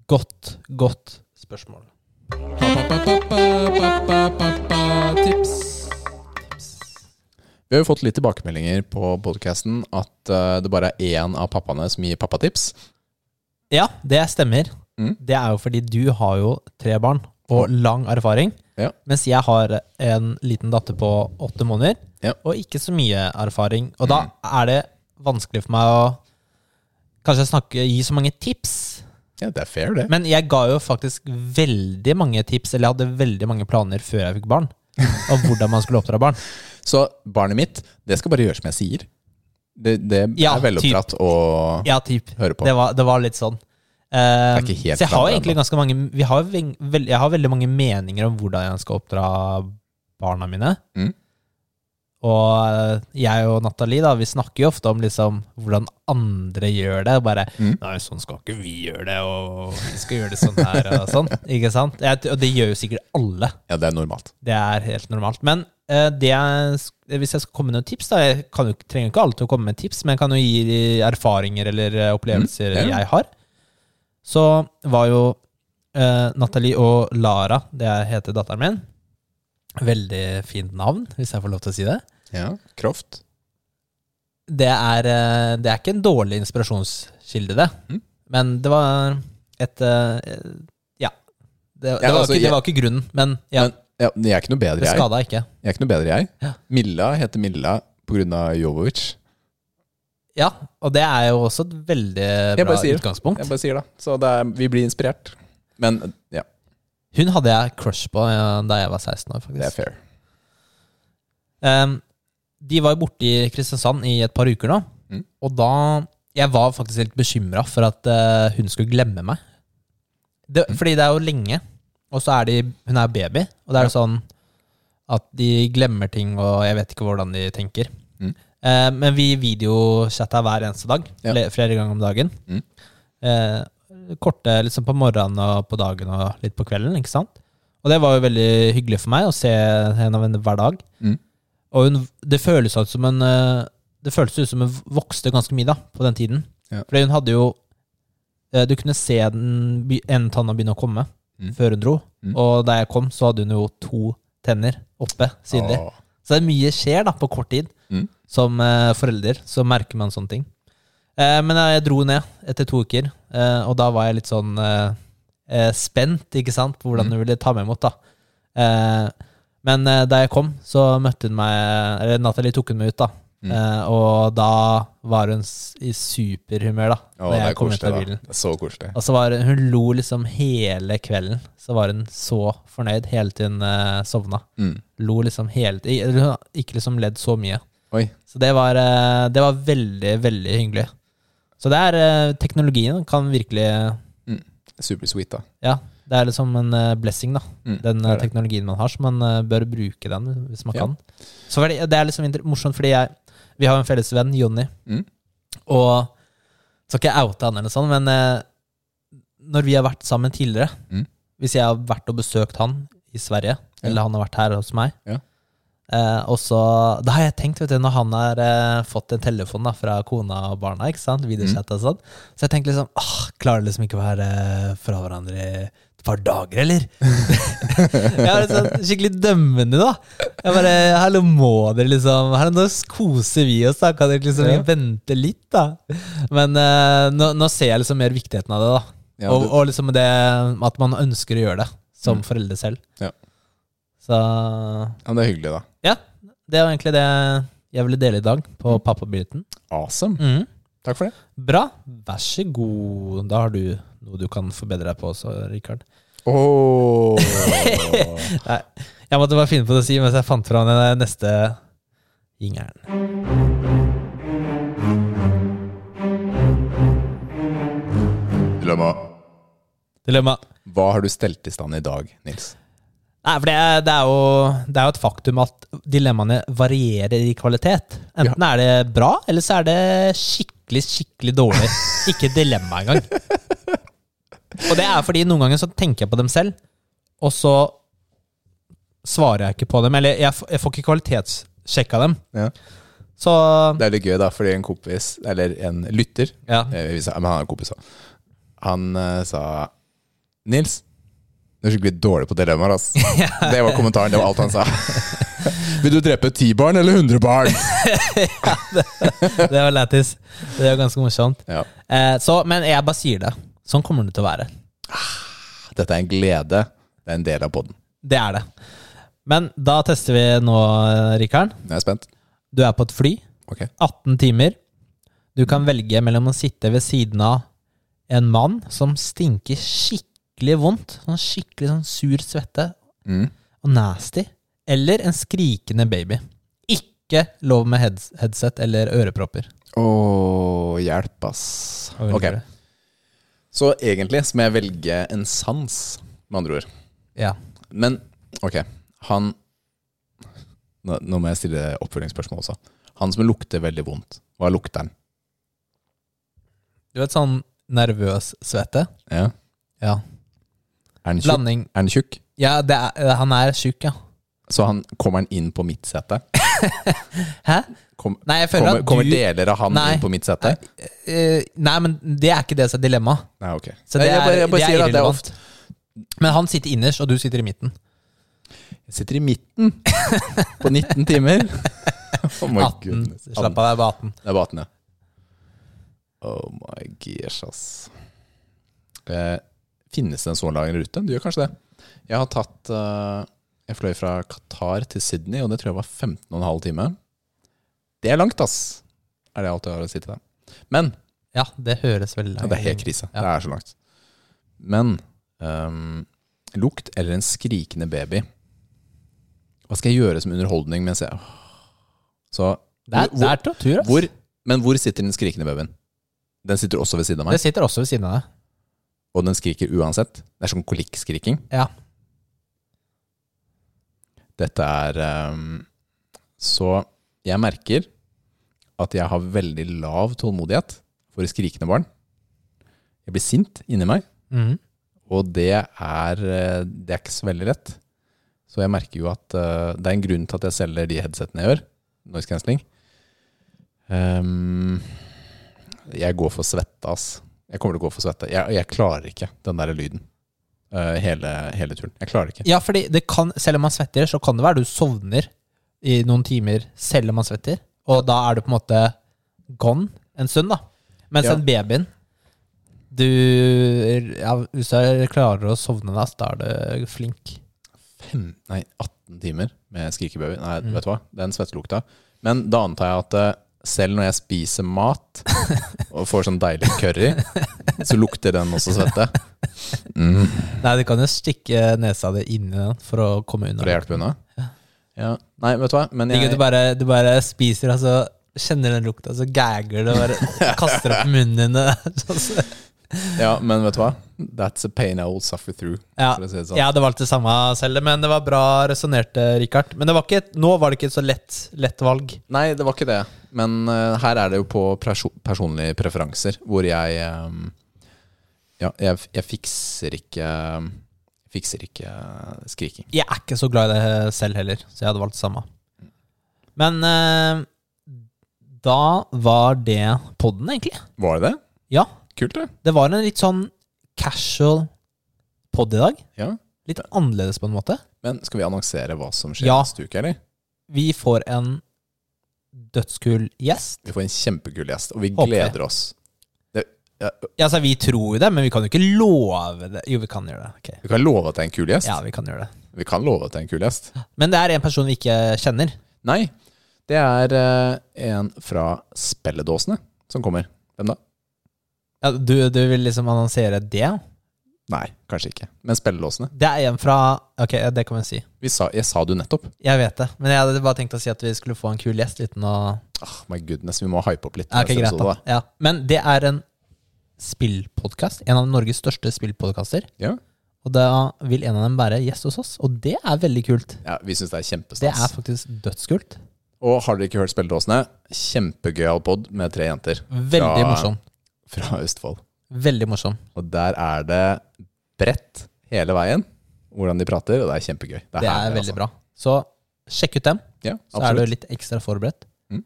A: Godt, godt spørsmål.
B: Vi har jo fått litt tilbakemeldinger på podkasten at eh, det bare er én av pappaene som gir pappatips.
A: Ja, det stemmer.
B: Mm.
A: Det er jo fordi du har jo tre barn og lang erfaring.
B: Ja.
A: Mens jeg har en liten datter på åtte måneder
B: Ja. Mm.
A: og ikke så mye erfaring. Og da er det vanskelig for meg å kanskje snakke, gi så mange tips.
B: Ja, det er fair, det.
A: Men jeg ga jo faktisk veldig mange tips, eller jeg hadde veldig mange planer før jeg fikk
B: (laughs)
A: barn. Om hvordan man skulle oppdra barn.
B: Så barnet mitt, det skal bare gjøre som jeg sier. Det, det
A: Ja,
B: er veloppdratt å
A: Ja, typ.
B: høre på.
A: Det var, det var litt sånn. Eh,
B: Det er ikke helt
A: så jeg har jo
B: bra
A: egentlig ganske mange vi har, jo veng- vel- Jeg har veldig mange meninger om hvordan jeg skal oppdra barna mine.
B: Mm.
A: Og eh, jeg og Nathalie da, vi snakker jo ofte om liksom, hvordan andre gjør det. Bare
B: Mm.
A: 'Nei, sånn skal ikke vi gjøre det', og 'vi skal gjøre det sånn her', og sånn. Ikke sant? Jeg, t- og det gjør jo sikkert alle.
B: Ja, det er normalt.
A: Det er helt normalt. Men eh, det jeg, sk- hvis jeg skal komme med noen tips da, Jeg kan jo, ikke- trenger jo ikke alltid å komme med tips, men jeg kan jo gi de erfaringer eller eh, opplevelser
B: Mm, ja.
A: jeg har. Så var jo eh, Nathalie og Lara, det jeg heter datteren min Veldig fint navn, hvis jeg får lov til å si det.
B: Ja, Kroft.
A: Det er, eh, det er ikke en dårlig inspirasjonskilde, det.
B: Mm.
A: Men det var et eh, Ja. Det, det, var
B: altså,
A: ikke,
B: jeg-
A: det var ikke grunnen, men ja,
B: Men ja, jeg er ikke noe bedre,
A: det
B: jeg.
A: skada ikke.
B: jeg, er ikke noe bedre jeg.
A: Ja.
B: Milla heter Milla pga. Jovovic.
A: Ja, og det er jo også et veldig
B: Jeg
A: bra
B: bare sier det.
A: utgangspunkt.
B: Jeg bare sier det. Så det er, vi blir inspirert. Men ja,
A: Hun hadde jeg crush på ja, da jeg var 16 år,
B: det er
A: faktisk.
B: fair.
A: Ehm, de var jo borte i Kristiansand i et par uker nå.
B: Mm.
A: Og da Jeg var faktisk helt bekymra for at eh, hun skulle glemme meg. Det,
B: Mm.
A: Fordi det er jo lenge, og så er de Hun er baby, og det er jo sånn at de glemmer ting, og jeg vet ikke hvordan de tenker.
B: Mm.
A: Eh, men vi videochatta hver eneste dag,
B: Ja.
A: fle- flere ganger om dagen.
B: Mm.
A: Eh, korte liksom på morgenen og på dagen og litt på kvelden, ikke sant? Og det var jo veldig hyggelig for meg å se henne hver- hver dag.
B: Mm.
A: Og hun, det føles ut som en eh, Det føles ut som hun vokste ganske mye da på den tiden.
B: Ja.
A: Fordi hun hadde jo eh, Du kunne se den be- en tanna begynne å komme
B: Mm.
A: før hun dro.
B: Mm.
A: Og da jeg kom, så hadde hun jo to tenner oppe synlig.
B: Åh.
A: Så det er mye skjer da på kort tid.
B: Mm.
A: Som eh, forelder så merker man sånne ting. Eh, men eh, jeg dro ned etter to uker, eh, og da var jeg litt sånn eh, eh, spent ikke sant, på
B: Mm.
A: hvordan hun ville ta meg imot. da. Eh, men eh, da jeg kom, så møtte hun meg Eller Natalie tok hun meg ut, da.
B: Mm.
A: Eh, og da var hun s- i superhumør, da.
B: Åh,
A: når
B: det
A: jeg
B: er
A: kom ut
B: koselig,
A: av
B: da.
A: bilen.
B: Det er så koselig.
A: Og så var hun, hun lo liksom hele kvelden. Så var hun så fornøyd helt til hun eh, sovna.
B: Mm.
A: Lo liksom hele i- eller Hun har ikke liksom ledd så mye.
B: Oi.
A: Så det var, eh, det var veldig, veldig hyggelig. Så det er eh, Teknologien kan virkelig
B: Supersweet, da.
A: Ja, det er liksom en eh, blessing, da.
B: Mm,
A: Den
B: det
A: eh,
B: er det.
A: teknologien man har, så man eh, bør bruke den hvis man
B: Ja.
A: kan. Så fordi, Det er liksom inter- morsomt, fordi jeg, vi har jo en felles venn, Jonny,
B: Mm.
A: og skal ikke oute han eller sånn, men eh, når vi har vært sammen tidligere
B: Mm.
A: Hvis jeg har vært og besøkt han i Sverige, eller han har vært her hos meg
B: Ja.
A: eh, og så, Da har jeg tenkt, vet du, når han har eh, fått en telefon da, fra kona og barna, ikke sant,
B: Mm.
A: videochat og sånn, så jeg tenkte liksom ah, Klarer liksom ikke å være eh, fra hverandre i et par dager, eller? jeg var liksom skikkelig dømmende, da. Jeg bare Hallo, må dere liksom Hallo, nå koser vi oss, da. Kan dere liksom
B: Ja.
A: vente litt, da? Men eh, nå, nå ser jeg liksom mer viktigheten av det, da.
B: Ja,
A: og,
B: det- Mm.
A: og liksom det at man ønsker å gjøre det som foreldre selv.
B: Ja.
A: Så
B: Ja, men det er hyggelig, da.
A: ja, det var egentlig det jeg ville dele i dag på
B: Mm.
A: pappabiten.
B: Awesome. Takk for det.
A: Bra. Vær så god. Da har du noe du kan forbedre deg på også, Rikard.
B: Åh. (laughs)
A: Nei, jeg måtte bare finne på det å si mens jeg fant fram den neste jingeren.
B: Dilemma.
A: Dilemma.
B: Hva har du stelt i stand i dag, Nils?
A: Nei, for det er, det, er jo, det er jo et faktum at dilemmaene varierer i kvalitet. Enten er det bra, eller så er det skikkelig, skikkelig dårlig. Ikke dilemma engang. Og det er fordi noen ganger så tenker jeg på dem selv, og så svarer jeg ikke på dem. Eller jeg, f- jeg får ikke kvalitetssjekka dem.
B: Ja.
A: Så
B: Det er litt gøy, da, fordi en kompis, eller en lytter
A: ja.
B: eh, vi sa, Men han er en kompis, da. Han eh, sa Nils, du er skikkelig dårlig på dilemmaer, (laughs) ass. Det var kommentaren. Det var alt han (laughs) sa. Vil du drepe ti barn eller hundre (laughs) barn?
A: Det var lættis. Det var ganske morsomt.
B: Ja.
A: Eh, så, men jeg bare sier det. Sånn kommer det til å være.
B: Dette er en glede. Det er en del av poden.
A: Det er det. Men da tester vi nå, eh, Rikard.
B: Jeg er spent.
A: Du er på et fly.
B: Ok.
A: 18 timer. Du kan velge mellom å sitte ved siden av en mann som stinker skikkelig vondt, sånn skikkelig sånn sur svette
B: Mm.
A: og nasty, eller en skrikende baby. Ikke lov med heads headset eller ørepropper.
B: Åh, hjelp, ass.
A: Hva velger
B: Ok.
A: du?
B: Så egentlig så må jeg velge en sans, med andre ord.
A: Ja.
B: Men ok, han Nå, nå må jeg stille oppfølgingsspørsmål også. Han som lukter veldig vondt, hva lukter han?
A: Du vet sånn nervøs svette?
B: Ja.
A: Ja.
B: Er han tjukk?
A: Blanding
B: Er han tjukk?
A: Ja, det er, eh, han er tjukk, ja.
B: Så han, kommer han inn på mitt sete?
A: (laughs) Hæ?
B: Kom,
A: Nei, jeg føler
B: kommer,
A: at
B: kommer
A: du
B: deler av han
A: Nei.
B: inn på mitt sete?
A: Eh, Nei, men det er ikke det som er dilemmaet.
B: Nei, ok.
A: Så det er,
B: Nei, jeg bare, jeg bare
A: det er
B: sier at det er
A: irrelevant.
B: ofte
A: Men han sitter innerst, og du sitter i midten.
B: Jeg sitter i midten
A: (laughs)
B: på 19 timer. Oh my
A: 18.
B: goodness.
A: Slapp av, det er bare 18.
B: Det er bare 18, ja. Oh my gosh, ass. Eh, finnes det en sånn så lang rute? Du gjør kanskje det. Jeg har tatt eh, Jeg fløy fra Qatar til Sydney, og det tror jeg var 15,5 timer. Det er langt, ass! Er det alt jeg har å si til det? Men
A: Ja, det høres veldig
B: ja,
A: langt
B: det er helt krise.
A: Ja.
B: Det er så langt. Men ehm, lukt eller en skrikende baby Hva skal jeg gjøre som underholdning mens jeg Åh, Så
A: Det er, det er til å tur, ass.
B: hvor, Men hvor sitter den skrikende babyen? Den sitter også ved siden av
A: Det
B: meg,
A: sitter også ved siden av deg.
B: og den skriker uansett. Det er sånn kolikkskriking.
A: Ja.
B: Dette er ehm, Så jeg merker at jeg har veldig lav tålmodighet for skrikende barn. Jeg blir sint inni meg,
A: Mhm.
B: og det er, eh, det er ikke så veldig lett. Så jeg merker jo at eh, det er en grunn til at jeg selger de headsetene jeg gjør. Noise cancelling. Ehm, jeg går for svette, ass. Jeg kommer til å gå for svette. Jeg, jeg klarer ikke den der lyden eh, hele, hele turen. Jeg klarer ikke.
A: ja, fordi det kan, selv om man svetter, så kan det være du sovner i noen timer selv om man svetter. Og da er du på en måte gone en stund, da. Mens
B: Ja.
A: den babyen du, ja, Hvis du klarer å sovne, da, så da er du flink.
B: fem, nei, 18 timer med skrikebaby. Nei, vet du hva? Den svettelukta. Men da antar jeg at eh, selv når jeg spiser mat og får sånn deilig curry, så lukter den også svette. Mm,
A: Nei, du kan jo stikke nesa di inn i den for å komme unna.
B: for å hjelpe unna. Ja. Nei, vet du hva? Men
A: Ikke, du,
B: jeg,
A: bare, du bare spiser, og så kjenner den lukta, så gagger du og
B: (laughs)
A: bare kaster opp munnen din. (laughs) Sånn, så-
B: ja, men vet du hva? That's a pain I will suffer through.
A: Ja,
B: For å si det sånn.
A: jeg hadde valgt det samme selv, men det var bra resonnert, Richard. Men det var ikke, et- nå var det ikke et så lett, lett valg.
B: Nei, det var ikke det. Men eh, her er det jo på perso personlige preferanser, hvor jeg eh, Ja, jeg, jeg fikser ikke Fikser ikke eh, skriking.
A: Jeg er ikke så glad i det selv heller, så jeg hadde valgt det samme. Men eh, da var det podden, egentlig.
B: Var det det?
A: Ja,
B: Kult, det.
A: det var en litt sånn casual pod i dag.
B: Ja.
A: Litt annerledes på en måte.
B: Men skal vi annonsere hva som skjer
A: Ja.
B: neste uke, eller?
A: Vi får en dødskul gjest.
B: Vi får en kjempekul gjest, og vi
A: Håper jeg.
B: gleder oss. Det, ja,
A: Ja, altså, vi tror jo det, men vi kan jo ikke love det. Jo, vi kan gjøre det. Ok.
B: vi kan love at det er en kul gjest.
A: Ja, vi kan gjøre det.
B: Vi kan love at det er en kul gjest.
A: Men det er en person vi ikke kjenner.
B: Nei, det er eh, en fra Spelledåsene som kommer. Hvem da?
A: Ja, du, du vil liksom annonsere det?
B: Nei, kanskje ikke. Men Spelledåsene.
A: Det er en fra Ok, ja, det kan vi si.
B: Vi sa, jeg sa du nettopp.
A: Jeg vet det. Men jeg hadde bare tenkt å si at vi skulle få en kul gjest uten å
B: Ah, my goodness, vi må hype opp litt.
A: ja, ok,
B: neste
A: greit, da.
B: episode,
A: Ja. Men det er en spillpodkast. En av Norges største spillpodkaster.
B: da. Ja.
A: Og da vil en av dem være gjest hos oss. Og det er veldig kult.
B: ja, vi syns det er
A: Det er
B: kjempestas.
A: faktisk dødskult.
B: Og har dere ikke hørt Spelledåsene? Kjempegøyal pod med tre jenter
A: Veldig
B: Ja.
A: morsom.
B: fra Østfold.
A: Veldig morsom.
B: Og der er det bredt hele veien hvordan de prater, og det er kjempegøy.
A: Det er veldig bra. altså. Så sjekk ut dem,
B: Ja,
A: så er du
B: absolutt.
A: litt ekstra forberedt.
B: Mm.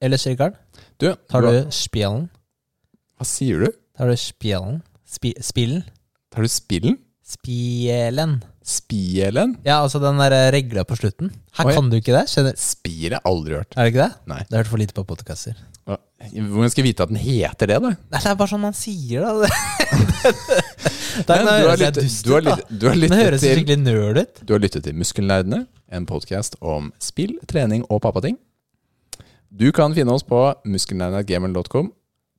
A: Ellers, Rikard,
B: Du,
A: tar
B: hva-
A: du spjelen?
B: Hva sier du?
A: Tar du spjelen? Spi, spillen?
B: Tar du spillen?
A: Spjelen.
B: Spielen?
A: Ja, altså den der regla på slutten. Her
B: Oi.
A: kan du ikke det. Skjønner.
B: Spir har jeg aldri hørt.
A: Er det ikke det?
B: Nei.
A: Du har hørt for lite på podkaster.
B: Hva- Hvordan skal jeg vite at den heter det, da?
A: Det er bare sånn man sier, (laughs) da. Det, det, det
B: Men du har
A: høres altså, jeg
B: lyttet-
A: dust
B: du har
A: ut, da.
B: lyttet- du har
A: Det
B: lyttet
A: høres
B: til-
A: skikkelig nerd ut.
B: du har lyttet til Muskelnerdene, en podkast om spill, trening og pappating. Du kan finne oss på muskelnerdene.gamer.com,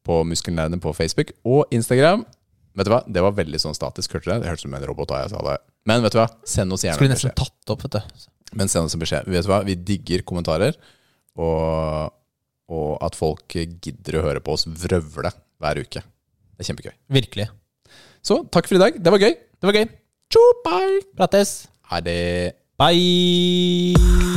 B: på Muskelnerdene på Facebook og Instagram. Vet du hva? Det var veldig sånn statisk, hørte du det? Det hørtes ut som en robot da jeg sa det. Men vet du hva? Send oss gjerne
A: Skulle
B: en
A: nesten
B: beskjed.
A: tatt opp, vet du.
B: Men send oss en beskjed. Vet du hva? Vi digger kommentarer, og, og at folk gidder å høre på oss vrøvle hver uke. Det er kjempegøy.
A: Virkelig.
B: Så takk for i dag. Det var gøy.
A: Det var gøy.
B: Tjo, bye!
A: Prates.
B: Ha det.
A: Bye!